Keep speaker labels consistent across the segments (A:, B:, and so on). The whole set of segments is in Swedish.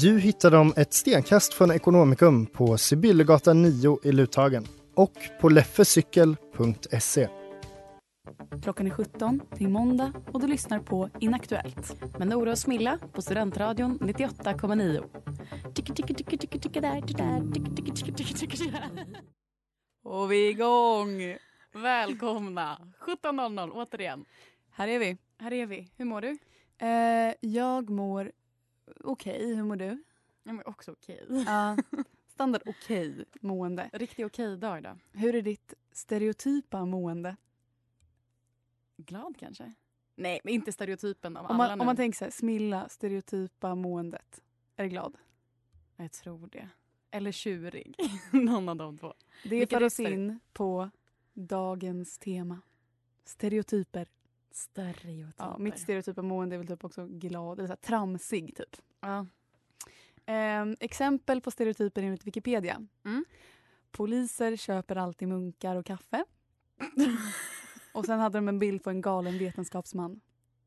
A: Du hittar dem ett stenkast från Ekonomikum på Sibyllegatan 9 i Luthagen och på leffecykel.se.
B: Klockan är 17, det är måndag och du lyssnar på Inaktuellt. Med Nora och Smilla på Studentradion 98,9. Tycker, tycker, tycker, tycker, tycker där, tycker där, tycker, tycker, tycker, tycker, tycker där. Och vi är igång! Välkomna! 17.00 återigen.
C: Här är vi.
B: Här är vi. Hur mår du?
C: Eh, jag mår okej. Hur mår du?
B: Jag mår också okej.
C: Ja, standard okej mående.
B: Riktig okej-dag idag.
C: Hur är ditt stereotypa mående?
B: Glad kanske? Nej, men inte stereotypen av
C: Om
B: alla
C: man,
B: nu.
C: om man tänker så här, smilla, stereotypa måendet. Är du glad?
B: Jag tror det. Eller tjurig. Någon av de två.
C: Det
B: Vilket
C: för oss
B: är-
C: in på dagens tema. Stereotyper.
B: Stereotyper.
C: Ja, mitt stereotypa mående är väl typ också glad, eller så här, tramsig typ.
B: ja.
C: Ehm, exempel på stereotyper enligt Wikipedia.
B: Mm.
C: Poliser köper alltid munkar och kaffe. och sen hade de en bild på en galen vetenskapsman.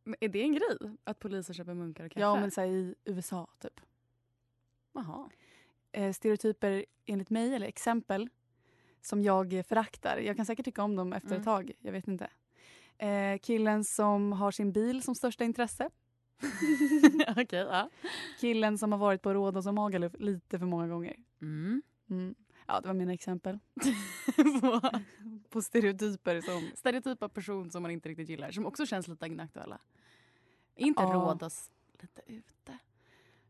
B: Men är det en grej? Att poliser köper munkar och kaffe?
C: Ja, men så här, i USA typ.
B: Jaha.
C: Eh, stereotyper enligt mig, eller exempel, som jag eh, föraktar. Jag kan säkert tycka om dem efter
B: Mm.
C: ett tag. Jag vet inte. Eh, killen som har sin bil som största intresse.
B: Okej, ja.
C: Killen som har varit på Rhodos och Magaluf lite för många gånger.
B: Mm.
C: Mm. Ja, det var mina exempel
B: På
C: på stereotyper som
B: Stereotypa person som man inte riktigt gillar, som också känns lite inaktuella. Är inte
C: Ja.
B: Rhodos lite ute?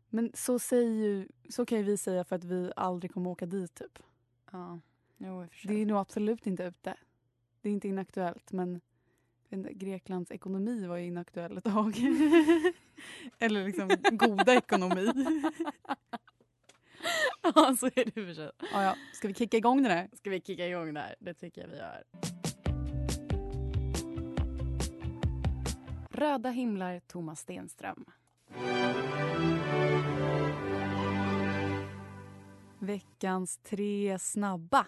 C: Men så, säger ju, så kan ju vi säga för att vi aldrig kommer åka dit. Typ.
B: Ja, jo, i och för sig.
C: Det är nog absolut inte ute. Det är inte inaktuellt, men jag vet inte, Greklands ekonomi var ju inaktuell ett tag. Eller liksom goda ekonomi.
B: ja, så är det i och för sig.
C: Ja, ja. Ska vi kicka igång det där?
B: Ska vi kicka igång där? Det tycker jag vi gör. Röda himlar, Thomas Stenström.
C: Veckans tre snabba.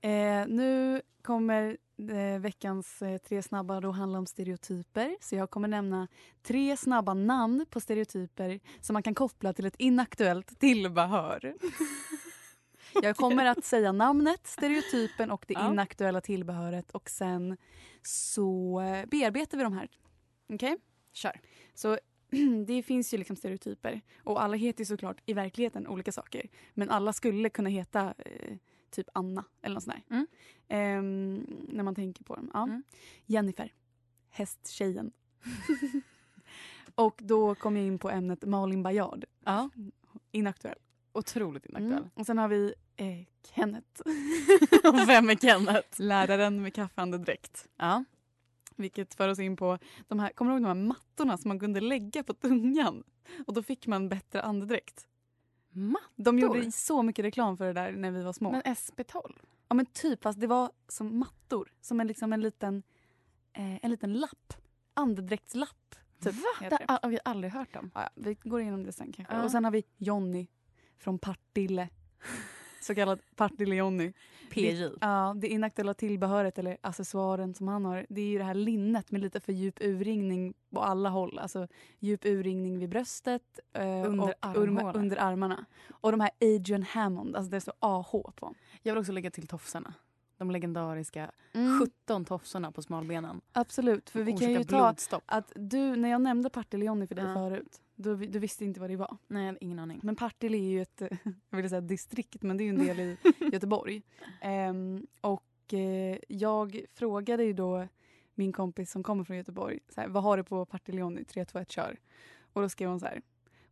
C: Eh, nu kommer eh, veckans eh, tre snabba då handla om stereotyper. Så jag kommer nämna tre snabba namn på stereotyper som man kan koppla till ett inaktuellt tillbehör. jag kommer att säga namnet, stereotypen och det
B: Ja.
C: inaktuella tillbehöret och sen så eh, bearbetar vi de här. Okej?
B: Kör.
C: Så det finns ju liksom stereotyper. Och alla heter ju såklart i verkligheten olika saker. Men alla skulle kunna heta eh, typ Anna eller något sånt där.
B: Mm.
C: Ehm, när man tänker på dem. Ja.
B: Mm.
C: Jennifer. Hästtjejen. och då kom jag in på ämnet Malin Bajard.
B: Ja.
C: Inaktuell.
B: Otroligt inaktuell.
C: Mm. Och sen har vi eh, Kenneth.
B: Och Vem är Kenneth?
C: Läraren med kaffeandedräkt.
B: Ja.
C: Vilket för oss in på, de här, kommer du ihåg de här mattorna som man kunde lägga på tungan? Och då fick man bättre andedräkt.
B: Matt.
C: De
B: Mattor?
C: gjorde så mycket reklam för det där när vi var små.
B: Men SP12?
C: ja men typ, fast det var som mattor. Som en, liksom en, liten, eh, en liten lapp. Andedräktslapp. Typ, heter
B: Det
C: det.
B: har vi aldrig hört om.
C: Ja, ja, vi går igenom det sen kanske.
B: Ja.
C: Och sen har vi Jonny från Partille. Så kallad Partille-Jonny.
B: PJ.
C: Ja, det inaktuella tillbehöret eller accessoaren som han har det är ju det här linnet med lite för djup urringning på alla håll. Alltså djup urringning vid bröstet eh,
B: Under
C: och urma,
B: armhålan.
C: under armarna. Och de här Adrian Hammond, alltså det står AH på.
B: Jag vill också lägga till tofsarna. De legendariska
C: Sjut-
B: 17 tofsarna på smalbenen.
C: Absolut, för vi kan
B: Orsakar
C: ju ta
B: blodstopp.
C: att du, när jag nämnde Partille Jonny för dig
B: Ja.
C: förut, Då, vi- du visste inte vad det var. Nej, jag hade ingen aning. Men Partille är ju ett, eh, jag ville säga distrikt, men det är ju en del i Göteborg. Ehm, och eh, jag frågade ju då min kompis som kommer från Göteborg, så här, vad har du på Partille 3, 2, 1, kör. Och då skrev hon så här,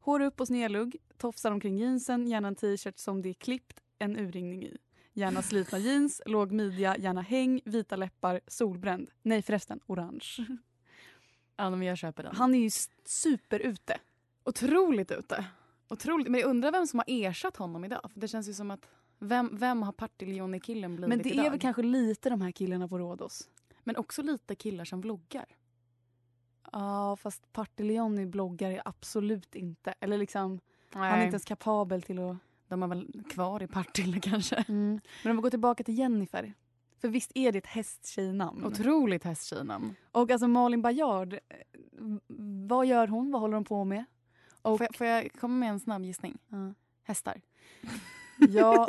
C: hår upp och snedlugg, tofsar omkring jeansen, gärna en t-shirt som det är klippt, en urringning i. Gärna slitna jeans, låg midja, gärna häng, vita läppar, solbränd. Nej förresten, orange.
B: Ja, men jag köper den.
C: Han är ju s- super ute.
B: Otroligt ute. Otroligt. Men jag undrar vem som har ersatt honom idag. För det känns ju som att vem, vem har Partille-Jonny-killen blivit
C: Men det
B: idag?
C: är väl kanske lite de här killarna på Rhodos.
B: Men också lite killar som vloggar.
C: Ja, fast Partille bloggar är absolut inte. Eller liksom, han är inte ens kapabel till att... Mm.
B: De är väl kvar i Partille kanske.
C: Men om vi går tillbaka till Jennifer. För visst är det ett hästtjejnamn?
B: Otroligt hästtjejnamn.
C: Och alltså Malin Bajard, eh, vad gör hon? Vad håller hon på med?
B: Får, jag- får jag komma med en snabb gissning?
C: Ja.
B: Hästar.
C: Ja,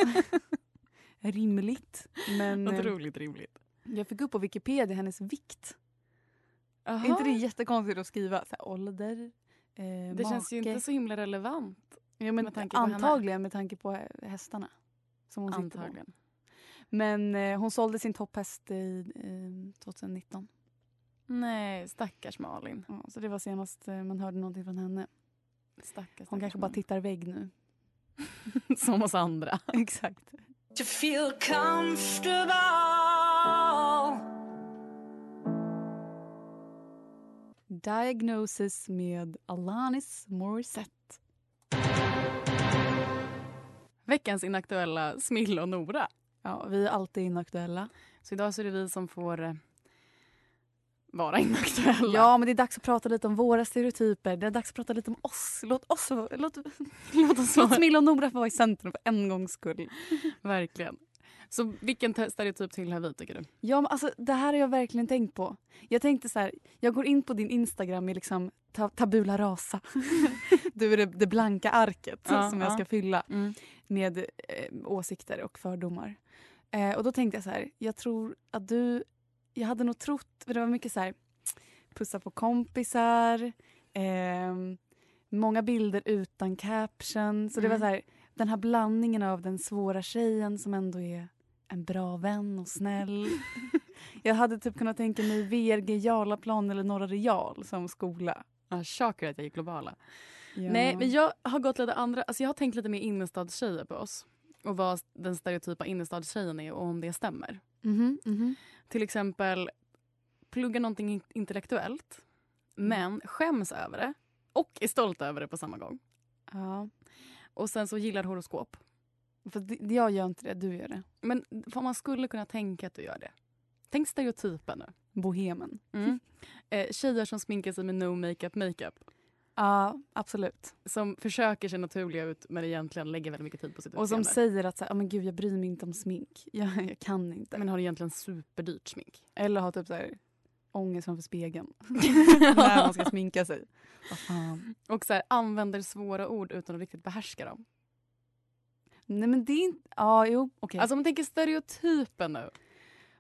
C: rimligt. Men eh,
B: rimligt.
C: jag fick upp på Wikipedia hennes vikt.
B: Aha.
C: Är inte det jättekonstigt att skriva så här, ålder, eh,
B: det känns ju inte så himla relevant.
C: Ja, men
B: med tanke på henne.
C: antagligen med tanke på hä- hästarna. Som hon sitter på.
B: Antagligen.
C: Men eh, hon sålde sin topphäst i, eh, 2019.
B: Nej, stackars Malin.
C: Ja, så det var senast eh, man hörde någonting från henne.
B: Stackars,
C: Hon kanske bara tittar vägg nu.
B: tittar. Som oss andra.
C: Exakt.
D: to feel comfortable.
C: Diagnosis med Alanis Morissette.
B: Veckans inaktuella Smilla och Nora.
C: Ja, vi är alltid inaktuella.
B: Så idag så är det vi som får eh, vara inaktuella.
C: Ja, men det är dags att prata lite om våra stereotyper. Det är dags att prata lite om oss. Låt oss vara- låt, låt oss låt Smilla och Nora få vara i centrum för en gångs skull.
B: Verkligen. Så vilken te- stereotyp tillhör vi tycker du?
C: Ja, men alltså, det här har jag verkligen tänkt på. Jag tänkte så här, jag går in på din Instagram med liksom ta- tabula rasa. du är det, det blanka arket
B: Ja,
C: som
B: ja.
C: jag ska fylla
B: Mm.
C: med eh, åsikter och fördomar. Eh, och då tänkte jag så här, jag tror att du, jag hade nog trott, för det var mycket så här, pussa på kompisar, ehm, många bilder utan caption. Så det
B: Mm.
C: var så här, den här blandningen av den svåra tjejen som ändå är en bra vän och snäll. jag hade typ kunnat tänka mig VRG Jarlaplan eller Norra Real som skola.
B: Ja, Shocker att jag gick globala. Nej, men jag har gått lite andra, alltså jag har tänkt lite mer innerstadstjejer på oss. Och vad den stereotypa innerstadstjejen är och om det stämmer.
C: Mhm, mhm.
B: Till exempel, plugga någonting in- intellektuellt
C: Mm.
B: men skäms över det och är stolt över det på samma gång.
C: Ja.
B: Och sen så gillar horoskop.
C: För det- jag gör inte det, du gör det.
B: Men vad man skulle kunna tänka att du gör det. Tänk stereotypen nu.
C: Bohemen.
B: Mm. Eh, tjejer som sminkar sig med no makeup makeup.
C: Ja, absolut.
B: Som försöker se naturliga ut men egentligen lägger väldigt mycket tid på sitt
C: Och som
B: utseende.
C: säger att så här, "Ja, men gud, jag bryr mig inte om smink. Jag, jag kan inte.
B: men har egentligen superdyrt smink.
C: Eller har typ så här, ångest framför spegeln när man ska sminka sig. Vad fan.
B: Och så här, använder svåra ord utan att riktigt behärska dem.
C: Nej men det är inte... Ja, jo, okej.
B: Alltså om man tänker stereotypen nu.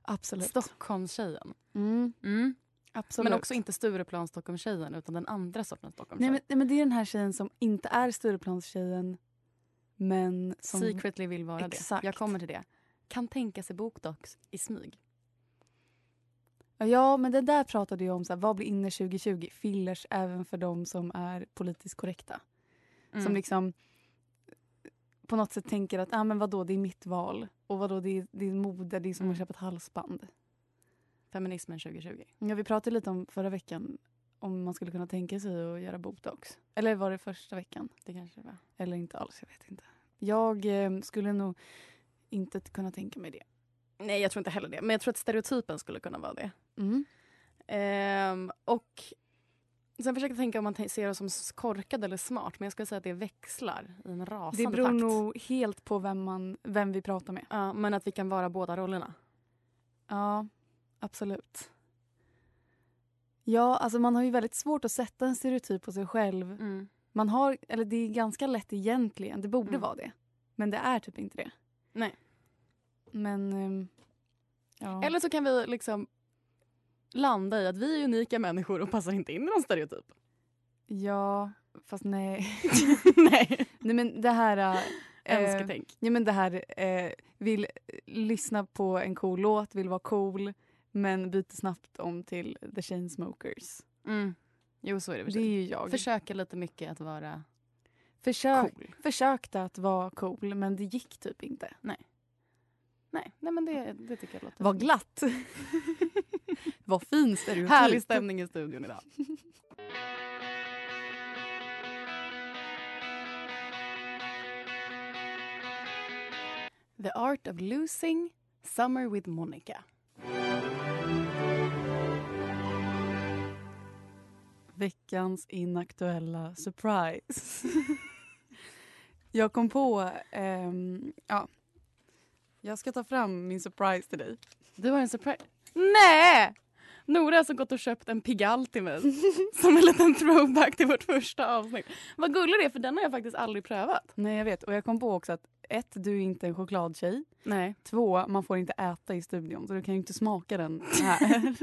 C: absolut.
B: Stockholmstjejen.
C: Mm,
B: Mm.
C: absolut.
B: Men också inte Stureplan Stockholmstjejen utan den andra sortens
C: Nej
B: Stockholmstjej.
C: men, nej men det är den här tjejen som inte är Stureplanstjejen men som...
B: Secretly vill vara
C: Exakt.
B: det. Jag kommer till det. Kan tänka sig bokdocs i smyg.
C: Ja men det där pratade jag om, så här, vad blir inne 2020? Fillers även för de som är politiskt korrekta.
B: Mm.
C: som liksom på något sätt tänker att ah, men vadå, det är mitt val. Och vadå, det är, det är mode, det är som
B: Mm.
C: att köpa ett halsband.
B: Feminismen 2020.
C: Ja, vi pratade lite om förra veckan om man skulle kunna tänka sig att göra botox. Eller var det första veckan?
B: Det kanske det var.
C: Eller inte alls, jag vet inte. Jag eh, skulle nog inte t- kunna tänka mig det.
B: Nej, jag tror inte heller det. Men jag tror att stereotypen skulle kunna vara det.
C: Mm.
B: Ehm, och sen försöker jag tänka om man t- ser oss som s- korkad eller smart. Men jag skulle säga att det växlar i en rasande
C: Det beror
B: takt.
C: nog helt på vem, man, vem vi pratar med.
B: Ja, men att vi kan vara båda rollerna.
C: Ja, absolut. Ja, alltså man har ju väldigt svårt att sätta en stereotyp på sig själv Man har, eller det är ganska lätt egentligen, det borde
B: Mm.
C: vara det. Men det är typ inte det.
B: Nej.
C: Men, ehm, ja.
B: Eller så kan vi liksom landa i att vi är unika människor och passar inte in i någon stereotyp.
C: ja, Fast nej.
B: Nej.
C: nej men det här...
B: Ehm,
C: Äh,
B: Önsketänk.
C: ja, men det här eh, vill lyssna på en cool låt, vill vara cool men byter snabbt om till The Chainsmokers.
B: Mm. Jo, så är det för
C: Det är
B: sig.
C: ju jag.
B: Försöka lite mycket att vara
C: Försök,
B: cool.
C: Försökte att vara cool men det gick typ inte.
B: Nej, nej men det, det tycker jag låter
C: Var
B: som-
C: glatt. Vad fin stereotyp.
B: Härlig stämning i studion idag. The Art of Losing, Summer with Monica.
C: Veckans inaktuella surprise. jag kom på... ehm, ja. Jag ska ta fram min surprise till dig.
B: Du har en surprise. Nej! Nora har alltså gått och köpt en pigall till mig som en liten throwback till vårt första avsnitt. Vad gullig det är, för den har jag faktiskt aldrig prövat.
C: Nej jag vet och jag kom på också att ett, du är inte en chokladtjej.
B: Nej.
C: Två, man får inte äta i studion så du kan ju inte smaka den här.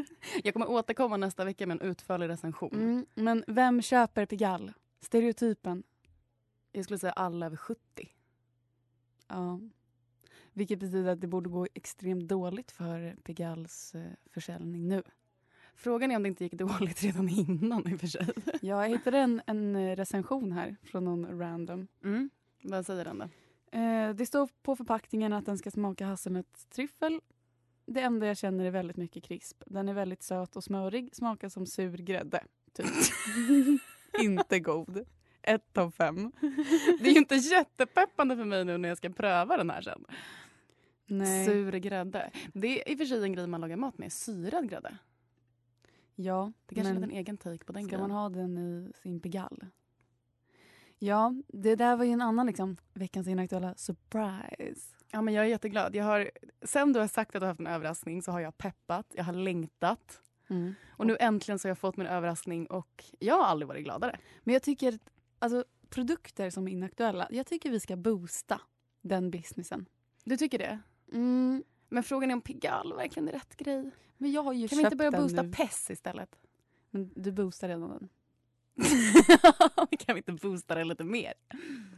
B: Jag kommer återkomma nästa vecka med en utförlig recension.
C: Mm, men vem köper Pigalle? Stereotypen.
B: Jag skulle säga alla över 70.
C: Ja. Vilket betyder att det borde gå extremt dåligt för Pigalles eh, försäljning nu.
B: Frågan är om det inte gick dåligt redan innan i och för sig.
C: Jag hittade en, en eh, recension här från någon random.
B: Mm. Vad säger den då?
C: Eh, det står på förpackningen att den ska smaka hasselnötstryffel. Det enda jag känner är väldigt mycket krisp. Den är väldigt söt och smörig, smakar som sur grädde. Typ. Inte god. Ett av fem.
B: Det är ju inte jättepeppande för mig nu när jag ska pröva den här sen.
C: Nej.
B: Sur grädde. Det är i och för sig en grej man lagar mat med, syrad grädde.
C: ja,
B: Det kanske
C: men-
B: är en egen take på den
C: Ska
B: grejen.
C: man ha den i sin pigall? Ja, det där var ju en annan liksom, veckans inaktuella surprise.
B: Ja, men jag är jätteglad. Jag har, sen du har sagt att du har haft en överraskning så har jag peppat, jag har längtat. Och nu äntligen så har jag fått min överraskning och jag har aldrig varit gladare.
C: Men jag tycker, att, alltså produkter som är inaktuella, jag tycker vi ska boosta den businessen.
B: Du tycker det?
C: Mm,
B: Men frågan är om Pigalle verkligen är rätt grej. Kan
C: men jag har ju
B: vi
C: köpt
B: inte börja
C: den
B: boosta
C: nu.
B: Pess istället?
C: Men du boostar redan den.
B: kan vi inte boosta den lite mer?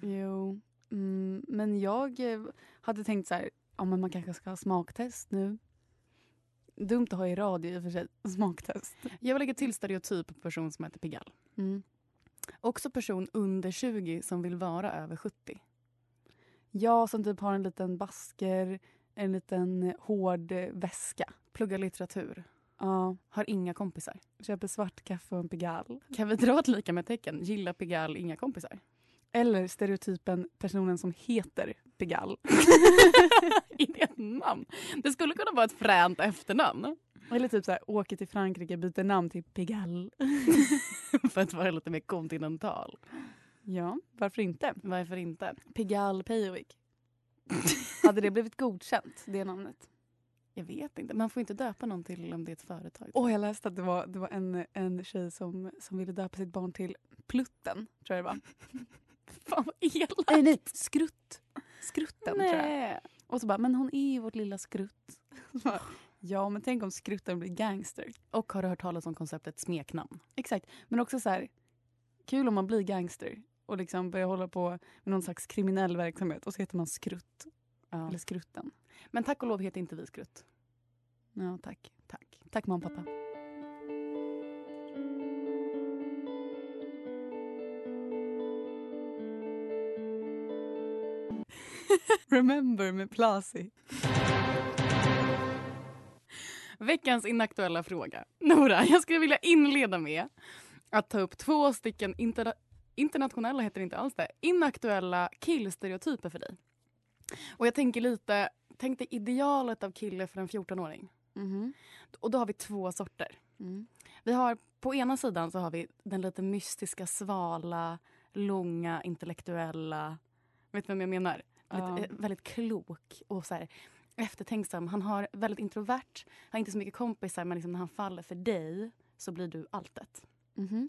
C: Jo, mm, men jag eh, hade tänkt så här, ja men man kanske ska ha smaktest nu. Dumt att ha i radio i och för sig, smaktest.
B: Jag vill lägga till stereotyp person som heter Pigalle.
C: Mm.
B: Också person under 20 som vill vara över 70.
C: Jag som typ har en liten basker, en liten hård eh, väska.
B: Pluggar litteratur.
C: Ja,
B: Har inga kompisar.
C: köper svart kaffe och en Pigalle.
B: Kan vi dra ett lika med tecken? Gilla Pigalle, inga kompisar.
C: Eller stereotypen personen som heter Pigalle.
B: är det ett namn? Det skulle kunna vara ett fränt efternamn.
C: Eller typ så här, åker till Frankrike, byter namn till Pigalle.
B: För att vara lite mer kontinental.
C: Ja, varför inte?
B: Varför inte?
C: Pigalle Pejovik. Hade det blivit godkänt, det namnet?
B: Jag vet inte. Man får inte döpa någon till om det är ett företag.
C: Åh, jag läste att det var, det var en, en tjej som, som ville döpa sitt barn till Plutten, tror jag det var.
B: fan vad elakt!
C: Nej, nej, Skrutt. Skrutten, tror jag.
B: Nej.
C: Och så bara, men hon är ju vårt lilla skrutt. Så bara, ja, men tänk om skrutten blir gangster.
B: Och har du hört talas om konceptet smeknamn?
C: Exakt, men också så här, kul om man blir gangster och liksom börjar hålla på med någon slags kriminell verksamhet och så heter man skrutt,
B: Ja.
C: eller skrutten.
B: Men tack och lov heter inte vi skrutt.
C: Ja, tack. Tack. Tack mamma och pappa. Remember med Plasi.
B: Veckans inaktuella fråga. Nora, jag skulle vilja inleda med att ta upp två stycken interna- internationella, heter det inte alls det, inaktuella killstereotyper för dig. Och jag tänker lite, tänk dig idealet av kille för en 14-åring.
C: Mhm.
B: Och då har vi två sorter.
C: Mm.
B: Vi har, på ena sidan så har vi den lite mystiska, svala, långa, intellektuella. Vet du vem jag menar?
C: Ja.
B: Väldigt, eh, väldigt klok och så här, eftertänksam. Han har väldigt introvert, har inte så mycket kompisar men liksom när han faller för dig så blir du alltet.
C: Mhm.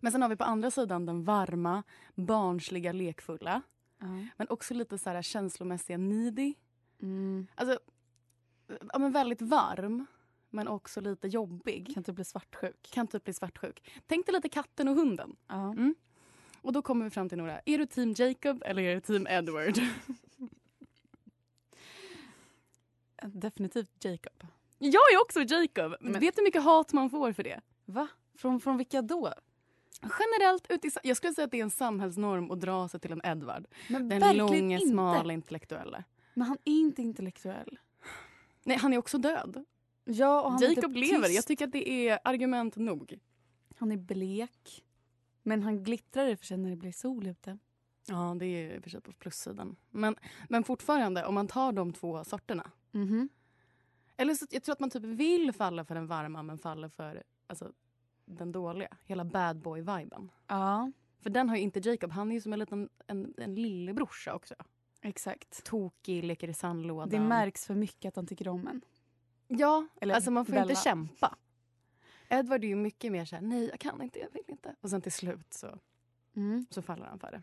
B: Men sen har vi på andra sidan den varma, barnsliga, lekfulla.
C: Ja.
B: Men också lite så här känslomässiga needy.
C: Mm.
B: Alltså, ja, men väldigt varm men också lite jobbig.
C: Kan inte bli svartsjuk.
B: Kan typ bli svartsjuk. Tänk dig lite katten och hunden.
C: Ja.
B: Och då kommer vi fram till några. Är du team Jacob eller är du team Edward?
C: Definitivt Jacob.
B: Jag är också Jacob.
C: Men-
B: Vet du hur mycket hat man får för det?
C: Va? Från, från vilka då?
B: Generellt ut i, sa- jag skulle säga att det är en samhällsnorm att dra sig till en Edward.
C: Men
B: Den
C: verkligen
B: långa,
C: inte.
B: smala intellektuella.
C: Men han är inte intellektuell.
B: Nej, han är också död.
C: Ja, och han är
B: Jacob
C: inte
B: lever.
C: tyst.
B: Jag tycker att det är argument nog.
C: Han är blek. Men han glittrar i och för sig när det blir sol ute.
B: Ja, det är i och för sig på plussidan. Men, men fortfarande, om man tar de två sorterna.
C: Mhm.
B: Eller så, jag tror att man typ vill falla för den varma men faller för alltså, den dåliga. Hela bad boy-viben.
C: Ja,
B: För den har ju inte Jacob. Han är ju som en liten en, en lillebrorsa också.
C: exakt.
B: Tokig, leker i sandlådan.
C: Det märks för mycket att han tycker om en.
B: Ja,
C: Eller
B: alltså man får
C: Bella.
B: inte kämpa. Edward är ju mycket mer så här, nej jag kan inte, jag vill inte. Och sen till slut så,
C: Mm.
B: så faller han för det.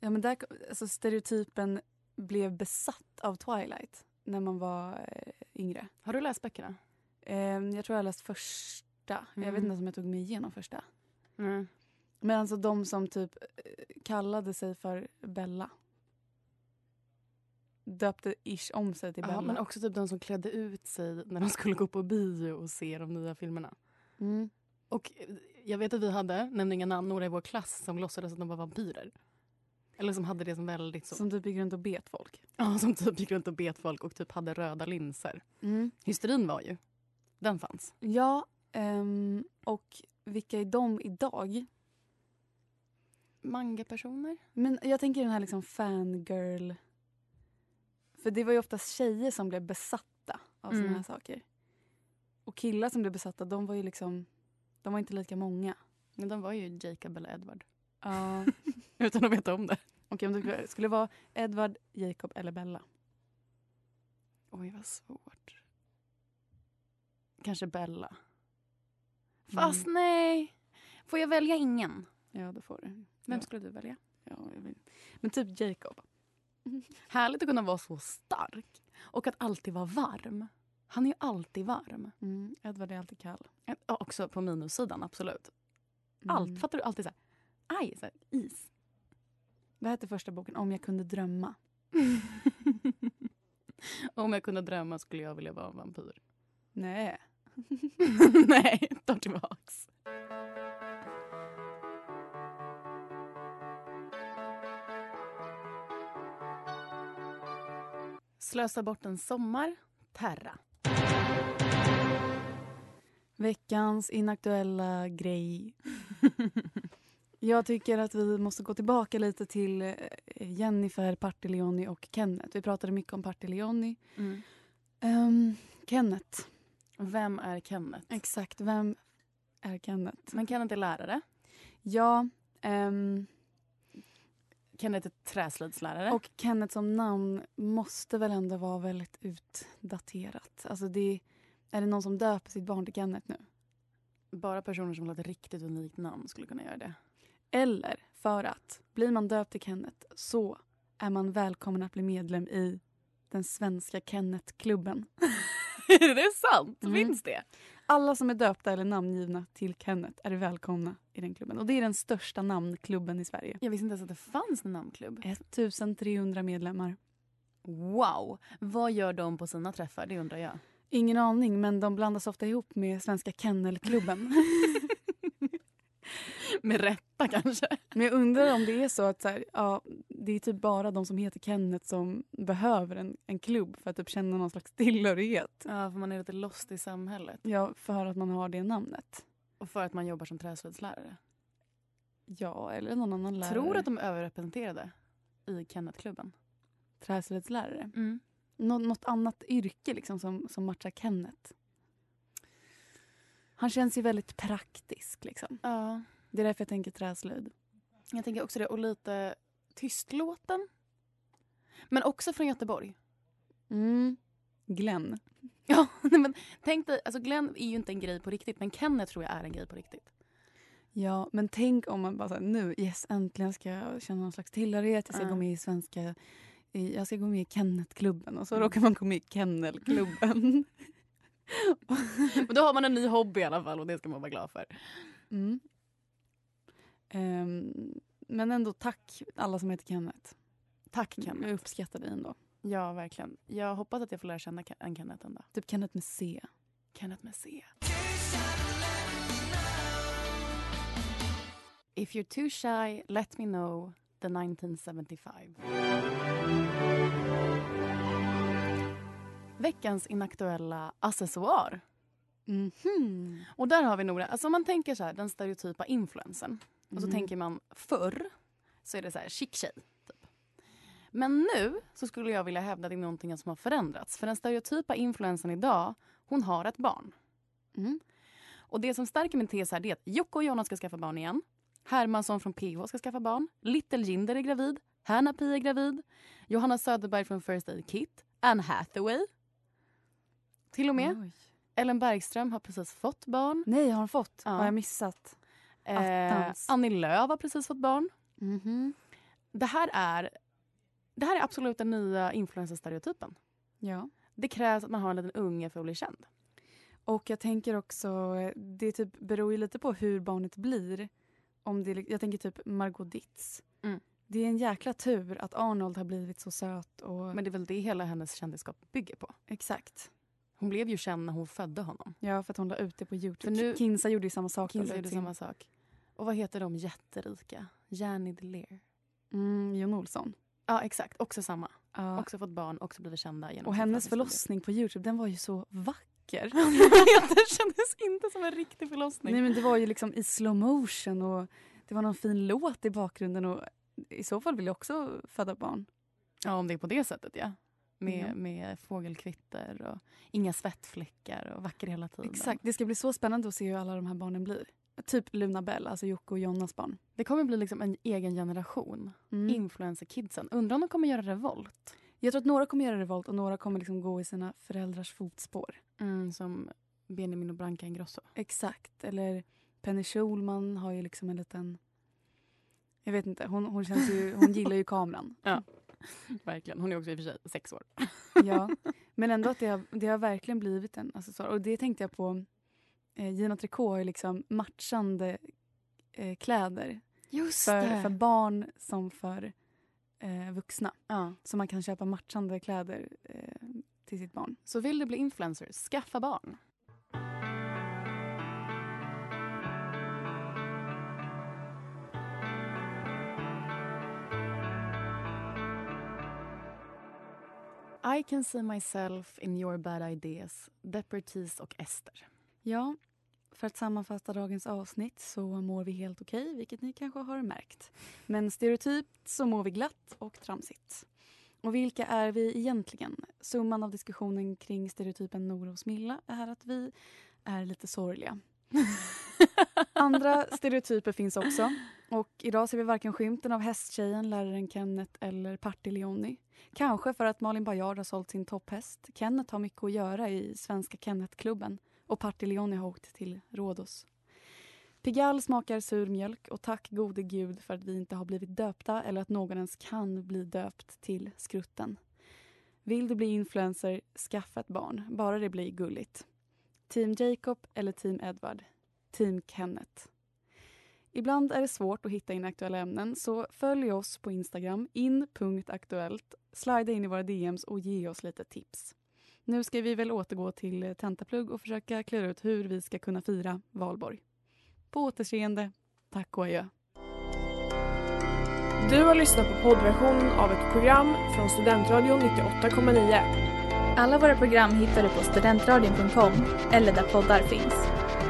C: Ja, men där, alltså, stereotypen blev besatt av Twilight när man var eh, yngre.
B: Har du läst böckerna?
C: Eh, jag tror jag har läst första. Jag
B: Mm.
C: vet inte om jag tog mig igenom första.
B: Mm.
C: Men alltså de som typ eh, kallade sig för Bella. Döpte ish om sig till Bella.
B: Ja, men också typ de som klädde ut sig när de skulle gå på bio och se de nya filmerna.
C: mm.
B: Och eh, jag vet att vi hade, nämn inga namn, några i vår klass som låtsades att de var vampyrer. Eller som hade det som väldigt så.
C: Som typ gick runt och bet folk.
B: Ja, som typ gick runt och bet folk och typ hade röda linser. Hysterin var ju. Den fanns.
C: Ja, ehm, och vilka är de idag?
B: Manga-personer?
C: Men jag tänker den här liksom fangirl... För det var ju oftast tjejer som blev besatta av såna
B: Mm.
C: här saker. Och killar som blev besatta, de var ju liksom... De var inte lika många.
B: Men de var ju Jacob eller Edward.
C: Ja.
B: Utan att veta om det.
C: Okej, om det skulle vara Edward, Jacob eller Bella.
B: Oj, vad svårt. Kanske Bella.
C: Mm.
B: Fast nej! Får jag välja ingen?
C: Ja, då får du.
B: Vem
C: Ja.
B: skulle du välja?
C: Ja, jag vet. Men typ Jacob.
B: Härligt att kunna vara så stark. Och att alltid vara varm. Han är ju alltid varm.
C: Mm, Edward är alltid kall.
B: Ja, också på minussidan, absolut.
C: Mm.
B: Allt. Fattar du? Alltid så här, aj, så här, is.
C: Vad hette första boken? Om jag kunde drömma.
B: Om jag kunde drömma skulle jag vilja vara en vampyr.
C: Nej.
B: nej, ta tillbaks. Slösa bort en sommar, Terra.
C: Veckans inaktuella grej. Jag tycker att vi måste gå tillbaka lite till eh, Jennifer, Partille-Jonny och Kenneth. Vi pratade mycket om Partille-Jonny. Ehm, Kenneth.
B: Mm. Vem är Kenneth?
C: Exakt, vem är Kenneth?
B: Men Kenneth är lärare.
C: Ja, ehm,
B: Kenneth är träslöjdslärare.
C: och Kenneth som namn måste väl ändå vara väldigt utdaterat. Alltså det, är det någon som döper sitt barn till Kenneth nu?
B: bara personer som har ett riktigt unikt namn skulle kunna göra det.
C: Eller för att blir man döpt till Kenneth så är man välkommen att bli medlem i den svenska Kennethklubben.
B: är det sant?
C: Mm.
B: Finns det?
C: Alla som är döpta eller namngivna till Kenneth är välkomna i den klubben. Och Det är den största namnklubben i Sverige.
B: Jag visste inte ens att det fanns en namnklubb.
C: 1300 medlemmar.
B: Wow! Vad gör de på sina träffar? Det undrar jag.
C: Ingen aning, men de blandas ofta ihop med Svenska Kennelklubben.
B: Med rätta kanske.
C: men jag undrar om det är så att så här, ja, det är typ bara de som heter Kenneth som behöver en, en klubb för att typ känna någon slags tillhörighet.
B: Ja, för man är lite lost i samhället.
C: Ja, för att man har det namnet.
B: Och för att man jobbar som träslöjdslärare.
C: Ja, eller någon annan lärare.
B: Tror att de är överrepresenterade i Kennetklubben.
C: Träslöjdslärare.
B: Mm.
C: Nå- något annat yrke liksom som, som matchar Kenneth. Han känns ju väldigt praktisk. Liksom.
B: Ja,
C: Det är därför jag tänker träslöjd.
B: jag tänker också det. Och lite tystlåten. Men också från Göteborg.
C: Mm. Glenn.
B: Ja, nej men tänk dig, alltså Glenn är ju inte en grej på riktigt men Kenneth tror jag är en grej på riktigt.
C: Ja, men tänk om man bara så här, nu, yes, äntligen ska jag känna någon slags tillhörighet. Jag ska
B: Ja.
C: gå med i svenska... i- Jag ska gå med i Kennetklubben och så råkar man gå med i Kennelklubben.
B: Men då har man en ny hobby i alla fall och det ska man vara glad för.
C: Mm. Ehm, Men ändå tack alla som heter Kenneth.
B: Tack
C: Jag
B: Kenneth.
C: uppskattar dig ändå.
B: Ja, verkligen. Jag hoppas att jag får lära känna Ke- en Kenneth en dag.
C: Typ Kenneth med C.
B: Kenneth med C. If you're too shy, let me know. The 1975. Veckans inaktuella accessoar.
C: Mhm.
B: Och där har vi några, alltså om man tänker så här, den stereotypa influensen. Och så
C: Mhm.
B: tänker man förr så är det så här chic tjej. Typ. Men nu så skulle jag vilja hävda att det är någonting som har förändrats. För den stereotypa influensen idag, hon har ett barn.
C: Mm.
B: Och det som stärker min tes här det är att Jocke och Jonna ska skaffa barn igen. Hermansson från PH ska skaffa barn. Little Jinder är gravid. Hanna Pi är gravid. Johanna Söderberg från First Aid Kit. Anne Hathaway. Till och med.
C: Oj.
B: Ellen Bergström har precis fått barn.
C: Nej, har hon fått?
B: Ja.
C: Har jag missat?
B: Eh,
C: Attans.
B: Annie Lööf har precis fått barn.
C: Mhm.
B: Det här är, det här är absolut den nya influencerstereotypen.
C: Ja.
B: Det krävs att man har en liten unge för att bli känd.
C: Och jag tänker också, eh, det typ beror ju lite på hur barnet blir. Om det, jag tänker typ Margot Ditz.
B: Mm.
C: Det är en jäkla tur att Arnold har blivit så söt och...
B: Men det är väl det hela hennes kändisskap bygger på.
C: Exakt.
B: Hon blev ju känd när hon födde honom.
C: Ja, för att hon la ut det på Youtube.
B: För nu-
C: Kinsa gjorde ju samma sak. och la
B: Kinsa
C: ut
B: gjorde
C: sin-
B: samma sak. Och vad heter de jätterika? Jenny Lear.
C: Mm, Jon Olsson.
B: Ja, exakt. Också samma.
C: Ja.
B: Också fått barn, också blivit kända. Genom
C: och
B: sin
C: hennes
B: förlossningsvideo.
C: förlossning på Youtube, den var ju så vacker.
B: det kändes inte som en riktig förlossning.
C: Nej men det var ju liksom i slow motion och det var någon fin låt i bakgrunden och i så fall vill jag också föda barn.
B: Ja, om det är på det sättet, ja. Med,
C: Ja.
B: med fågelkvitter och inga svettfläckar och vacker hela tiden.
C: Exakt, det ska bli så spännande att se hur alla de här barnen blir. Typ Luna Bell, alltså Jocke och Jonas barn.
B: Det kommer bli liksom en egen generation.
C: Mm.
B: Influencer-kidsen. Undrar om de kommer göra revolt?
C: Jag tror att några kommer göra revolt och några kommer liksom gå i sina föräldrars fotspår.
B: Som Benjamin och Branka Ingrosso.
C: Exakt, eller Penny Schulman har ju liksom en liten... Jag vet inte, hon, hon, känns ju, hon gillar ju kameran.
B: Mm. Verkligen. Hon är också i och för sig sex år.
C: Ja, men ändå att det har, det har verkligen blivit en accessoar. Och det tänkte jag på. Eh, Gina Tricot har ju liksom matchande eh, kläder
B: Just
C: för, för barn som för eh, vuxna.
B: Ja.
C: Så man kan köpa matchande kläder eh, till sitt barn.
B: Så vill du bli influencer, skaffa barn. I can see myself in your bad ideas, Depertis och Ester.
C: Ja, för att sammanfatta dagens avsnitt så mår vi helt okej, vilket ni kanske har märkt. Men stereotypt så mår vi glatt och tramsigt. Och vilka är vi egentligen? Summan av diskussionen kring stereotypen Nora och Smilla är att vi är lite sorgliga. Andra stereotyper finns också. Och idag ser vi varken skymten av hästtjejen, läraren Kenneth eller Partille-Jonny. Kanske för att Malin Bajard har sålt sin topphäst. Kenneth har mycket att göra i Svenska Kennetklubben och Partille-Jonny har åkt till Rhodos. Pigalle smakar sur mjölk och tack gode gud för att vi inte har blivit döpta eller att någon ens kan bli döpt till Skrutten. Vill du bli influencer, skaffa ett barn, bara det blir gulligt. Team Jacob eller Team Edward? Team Kenneth. Ibland är det svårt att hitta inaktuella ämnen så följ oss på Instagram, in.aktuellt, slida in i våra DMs och ge oss lite tips. Nu ska vi väl återgå till eh, tentaplugg och försöka klura ut hur vi ska kunna fira valborg. På återseende. Tack och adjö.
E: Du har lyssnat på poddversionen av ett program från Studentradion 98,9.
F: Alla våra program hittar du på studentradion.com eller där poddar finns.